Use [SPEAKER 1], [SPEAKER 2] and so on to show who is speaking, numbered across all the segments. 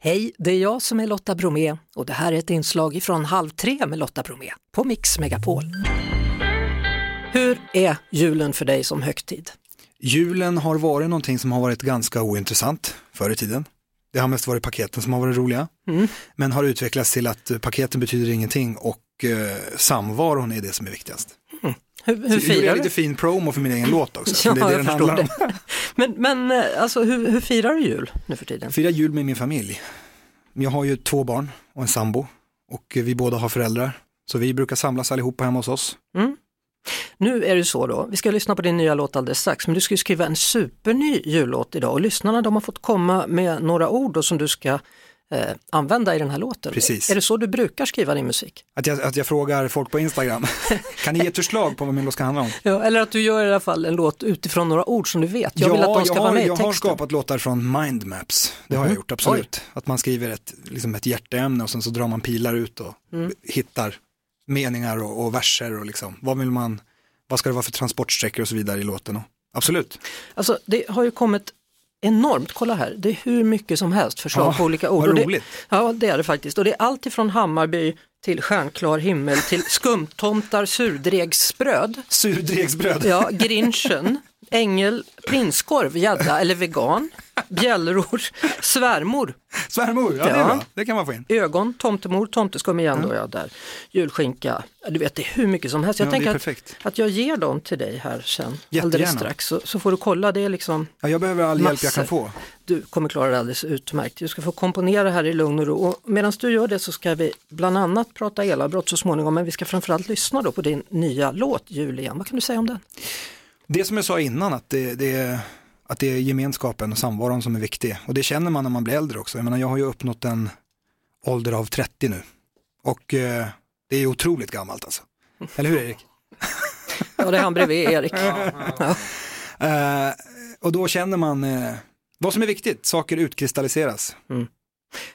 [SPEAKER 1] Hej, det är jag som är Lotta Bromé och det här är ett inslag från Halv tre med Lotta Bromé på Mix Megapol. Hur är julen för dig som högtid?
[SPEAKER 2] Julen har varit någonting som har varit ganska ointressant förr i tiden. Det har mest varit paketen som har varit roliga,
[SPEAKER 1] Mm.
[SPEAKER 2] men har utvecklats till att eh, paketen betyder ingenting och eh, samvaron är det som är viktigast.
[SPEAKER 1] Hur, hur
[SPEAKER 2] Så Jag
[SPEAKER 1] firar
[SPEAKER 2] gjorde
[SPEAKER 1] du?
[SPEAKER 2] lite fin promo för min egen låt också, så
[SPEAKER 1] Ja,
[SPEAKER 2] det är det
[SPEAKER 1] jag
[SPEAKER 2] den
[SPEAKER 1] förstår
[SPEAKER 2] handlar om.
[SPEAKER 1] det. Men, men eh, alltså, hur, hur firar du jul nu för tiden?
[SPEAKER 2] Fira jul med min familj. Jag har ju två barn och en sambo och eh, vi båda har föräldrar, så vi brukar samlas allihopa hemma hos oss.
[SPEAKER 1] Nu är det så då, vi ska lyssna på din nya låt alldeles strax, men du ska ju skriva en superny jullåt idag och lyssnarna de har fått komma med några ord då, som du ska eh, använda i den här låten.
[SPEAKER 2] Precis.
[SPEAKER 1] Är det så du brukar skriva din musik?
[SPEAKER 2] Att jag, att jag frågar folk på Instagram, kan ni ge ett förslag på vad min låt ska handla om?
[SPEAKER 1] Ja, eller att du gör i alla fall en låt utifrån några ord som du vet. Jag vill att de ska
[SPEAKER 2] jag,
[SPEAKER 1] vara
[SPEAKER 2] har,
[SPEAKER 1] med i
[SPEAKER 2] jag
[SPEAKER 1] texten. Mhm.
[SPEAKER 2] har skapat låtar från mindmaps. Det har jag gjort, absolut. Att man skriver ett, liksom ett hjärteämne och sen så drar man pilar ut och
[SPEAKER 1] Mm.
[SPEAKER 2] hittar meningar och, och verser och liksom, vad vill man, vad ska det vara för transportsträckor och så vidare i låten. Och, absolut.
[SPEAKER 1] Alltså, det har ju kommit enormt, kolla här, det är hur mycket som helst förslag
[SPEAKER 2] Ja,
[SPEAKER 1] på olika ord.
[SPEAKER 2] vad
[SPEAKER 1] Och
[SPEAKER 2] roligt.
[SPEAKER 1] Det, ja, det är det faktiskt. Och det är allt ifrån Hammarby till stjärnklar himmel till skumtomtar, surdegsbröd,
[SPEAKER 2] Surdegsbröd.
[SPEAKER 1] ja, grinchen, ängel, prinskorv, gädda eller vegan, bjällror, svärmor,
[SPEAKER 2] Svärmor, ja, det är
[SPEAKER 1] Ja.
[SPEAKER 2] bra. Det kan man få in.
[SPEAKER 1] ögon, tomtemor, tomteskum igen då, ja, där. julskinka, Ja, du vet det är hur mycket som helst. Jag
[SPEAKER 2] Ja, det är
[SPEAKER 1] tänker
[SPEAKER 2] perfekt.
[SPEAKER 1] att, att jag ger dem till dig här sen, alldeles
[SPEAKER 2] Jättegärna.
[SPEAKER 1] strax, så, så får du kolla, det är liksom
[SPEAKER 2] Ja, jag behöver all hjälp jag
[SPEAKER 1] Massor.
[SPEAKER 2] kan få.
[SPEAKER 1] Du kommer klara det alldeles utmärkt. Du ska få komponera här i lugn och ro. Och medan du gör det så ska vi bland annat prata elavbrott så småningom, men vi ska framförallt lyssna då på din nya låt Julian. Vad kan du säga om den?
[SPEAKER 2] Det som jag sa innan, att det, det, är- att det är gemenskapen och samvaron som är viktig. Och det känner man när man blir äldre också. Jag menar, jag har ju uppnått en ålder av 30 nu. Och eh, det är otroligt gammalt alltså. Eller hur Erik?
[SPEAKER 1] Ja, det är han bredvid Erik.
[SPEAKER 2] Eh, och då känner man eh, vad som är viktigt, saker utkristalliseras.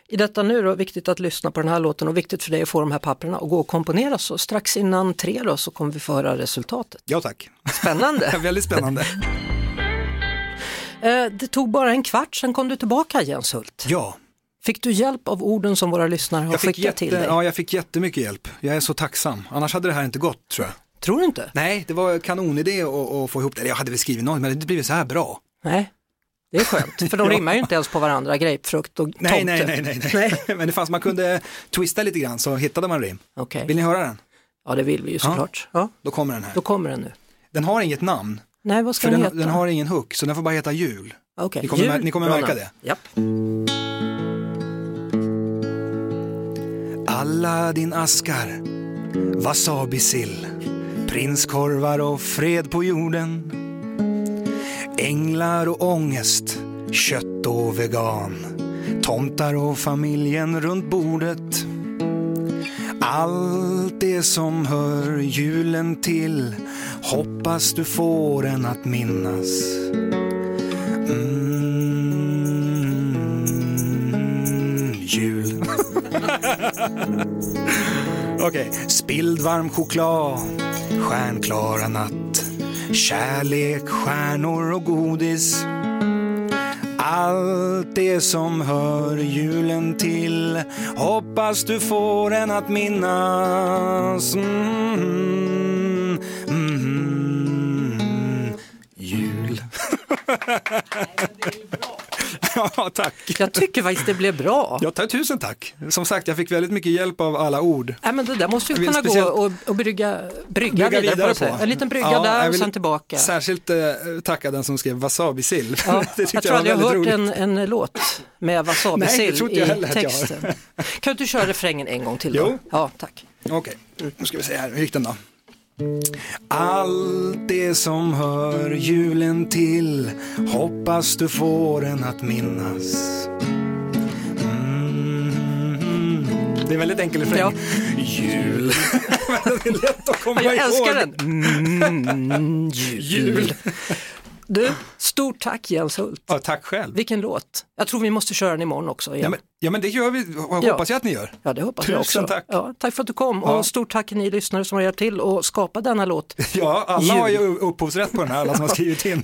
[SPEAKER 1] I detta nu då, viktigt att lyssna på den här låten och viktigt för dig att få de här papperna och gå och komponera. Så strax innan tre då så kommer vi få höra resultatet.
[SPEAKER 2] Ja tack,
[SPEAKER 1] Spännande!
[SPEAKER 2] väldigt spännande.
[SPEAKER 1] Eh, Det tog bara en kvart, sen kom du tillbaka Jens Hult.
[SPEAKER 2] Ja,
[SPEAKER 1] Fick du hjälp av orden som våra lyssnare har
[SPEAKER 2] jag fick,
[SPEAKER 1] skickat
[SPEAKER 2] jätte,
[SPEAKER 1] till dig?
[SPEAKER 2] ja, jag fick jättemycket hjälp. Jag är så tacksam, annars hade det här inte gått tror jag.
[SPEAKER 1] Tror du inte?
[SPEAKER 2] Nej, det var kanonidé att, att få ihop det. Eller Jag hade väl skrivit något, men det hade blivit så här bra.
[SPEAKER 1] Nej, det är skönt, för de rimmar ju inte ens på varandra, grapefrukt och tomte.
[SPEAKER 2] Nej, nej, nej, nej, nej. men det fanns, man kunde twista lite grann så hittade man rim.
[SPEAKER 1] Okej,
[SPEAKER 2] Vill ni höra den?
[SPEAKER 1] ja det vill vi ju såklart. Ja.
[SPEAKER 2] Då kommer den här.
[SPEAKER 1] Då kommer den nu.
[SPEAKER 2] Den har inget namn,
[SPEAKER 1] Nej, vad
[SPEAKER 2] för
[SPEAKER 1] ska den, heta?
[SPEAKER 2] den, den har ingen hook, så den får bara heta jul.
[SPEAKER 1] Okej,
[SPEAKER 2] ni kommer
[SPEAKER 1] jul,
[SPEAKER 2] mär- ni kommer
[SPEAKER 1] bra
[SPEAKER 2] märka
[SPEAKER 1] namn.
[SPEAKER 2] det.
[SPEAKER 1] Japp.
[SPEAKER 2] Aladdin askar, wasabisill, prinskorvar och fred på jorden. Änglar och ångest, kött och vegan. Tomtar och familjen runt bordet. Allt det som hör julen till hoppas du får en att minnas. Mm, jul. Okej. Spilld varm choklad, stjärnklara natt, kärlek, stjärnor och godis. Allt det som hör julen till hoppas du får en att minnas. Mm, mm, jul. ja, tack.
[SPEAKER 1] Jag tycker faktiskt det blev bra.
[SPEAKER 2] Jag tar tusen tack. Som sagt, jag fick väldigt mycket hjälp av alla ord.
[SPEAKER 1] Nej, men det där måste ju
[SPEAKER 2] Vi-
[SPEAKER 1] kunna
[SPEAKER 2] speciellt-
[SPEAKER 1] gå och, och brygga, brygga, vidare, på. så här. En liten brygga
[SPEAKER 2] Ja, jag
[SPEAKER 1] där och
[SPEAKER 2] vill
[SPEAKER 1] sen tillbaka.
[SPEAKER 2] Särskilt eh, tacka den som skrev wasabisill.
[SPEAKER 1] Ja,
[SPEAKER 2] det
[SPEAKER 1] jag
[SPEAKER 2] tyckte
[SPEAKER 1] tror
[SPEAKER 2] jag,
[SPEAKER 1] aldrig jag
[SPEAKER 2] var
[SPEAKER 1] hört
[SPEAKER 2] väldigt roligt.
[SPEAKER 1] en, en låt med
[SPEAKER 2] Nej, det
[SPEAKER 1] wasabisill
[SPEAKER 2] tror
[SPEAKER 1] i
[SPEAKER 2] inte jag heller att jag har.
[SPEAKER 1] texten. Kan du köra refrängen en gång till? Då?
[SPEAKER 2] Jo.
[SPEAKER 1] Ja, tack.
[SPEAKER 2] Okej, nu ska vi se här, hur gick den då? Allt det som hör julen till hoppas du får en att minnas. Mm. Det är en väldigt enkel refräng.
[SPEAKER 1] Ja.
[SPEAKER 2] Jul. Men det är lätt att komma
[SPEAKER 1] Jag
[SPEAKER 2] ihåg.
[SPEAKER 1] älskar den. Mm, jul. Du, stort tack Jens Hult.
[SPEAKER 2] Ja, tack själv.
[SPEAKER 1] Vilken låt. Jag tror vi måste köra den imorgon också. Igen.
[SPEAKER 2] Ja
[SPEAKER 1] Ja,
[SPEAKER 2] men, ja, men det gör vi, hoppas jag att ni gör.
[SPEAKER 1] det hoppas
[SPEAKER 2] Tusen
[SPEAKER 1] jag också.
[SPEAKER 2] tack.
[SPEAKER 1] Ja, tack för att du kom och
[SPEAKER 2] Ja.
[SPEAKER 1] stort tack ni lyssnare som har hjälpt till att skapa denna låt.
[SPEAKER 2] Ja, alla har ju upphovsrätt på den här, alla som har skrivit in.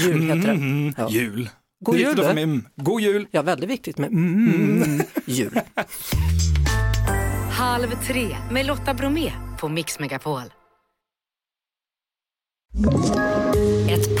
[SPEAKER 1] Jul heter den.
[SPEAKER 2] Mm, Jul.
[SPEAKER 1] Mm. God
[SPEAKER 2] Det är
[SPEAKER 1] jul!
[SPEAKER 2] viktigt att få
[SPEAKER 1] du.
[SPEAKER 2] med mm. God jul!
[SPEAKER 1] Ja, väldigt viktigt med mm, jul.
[SPEAKER 3] Halv tre med Lotta Bromé på Mix Megapol.
[SPEAKER 4] Ett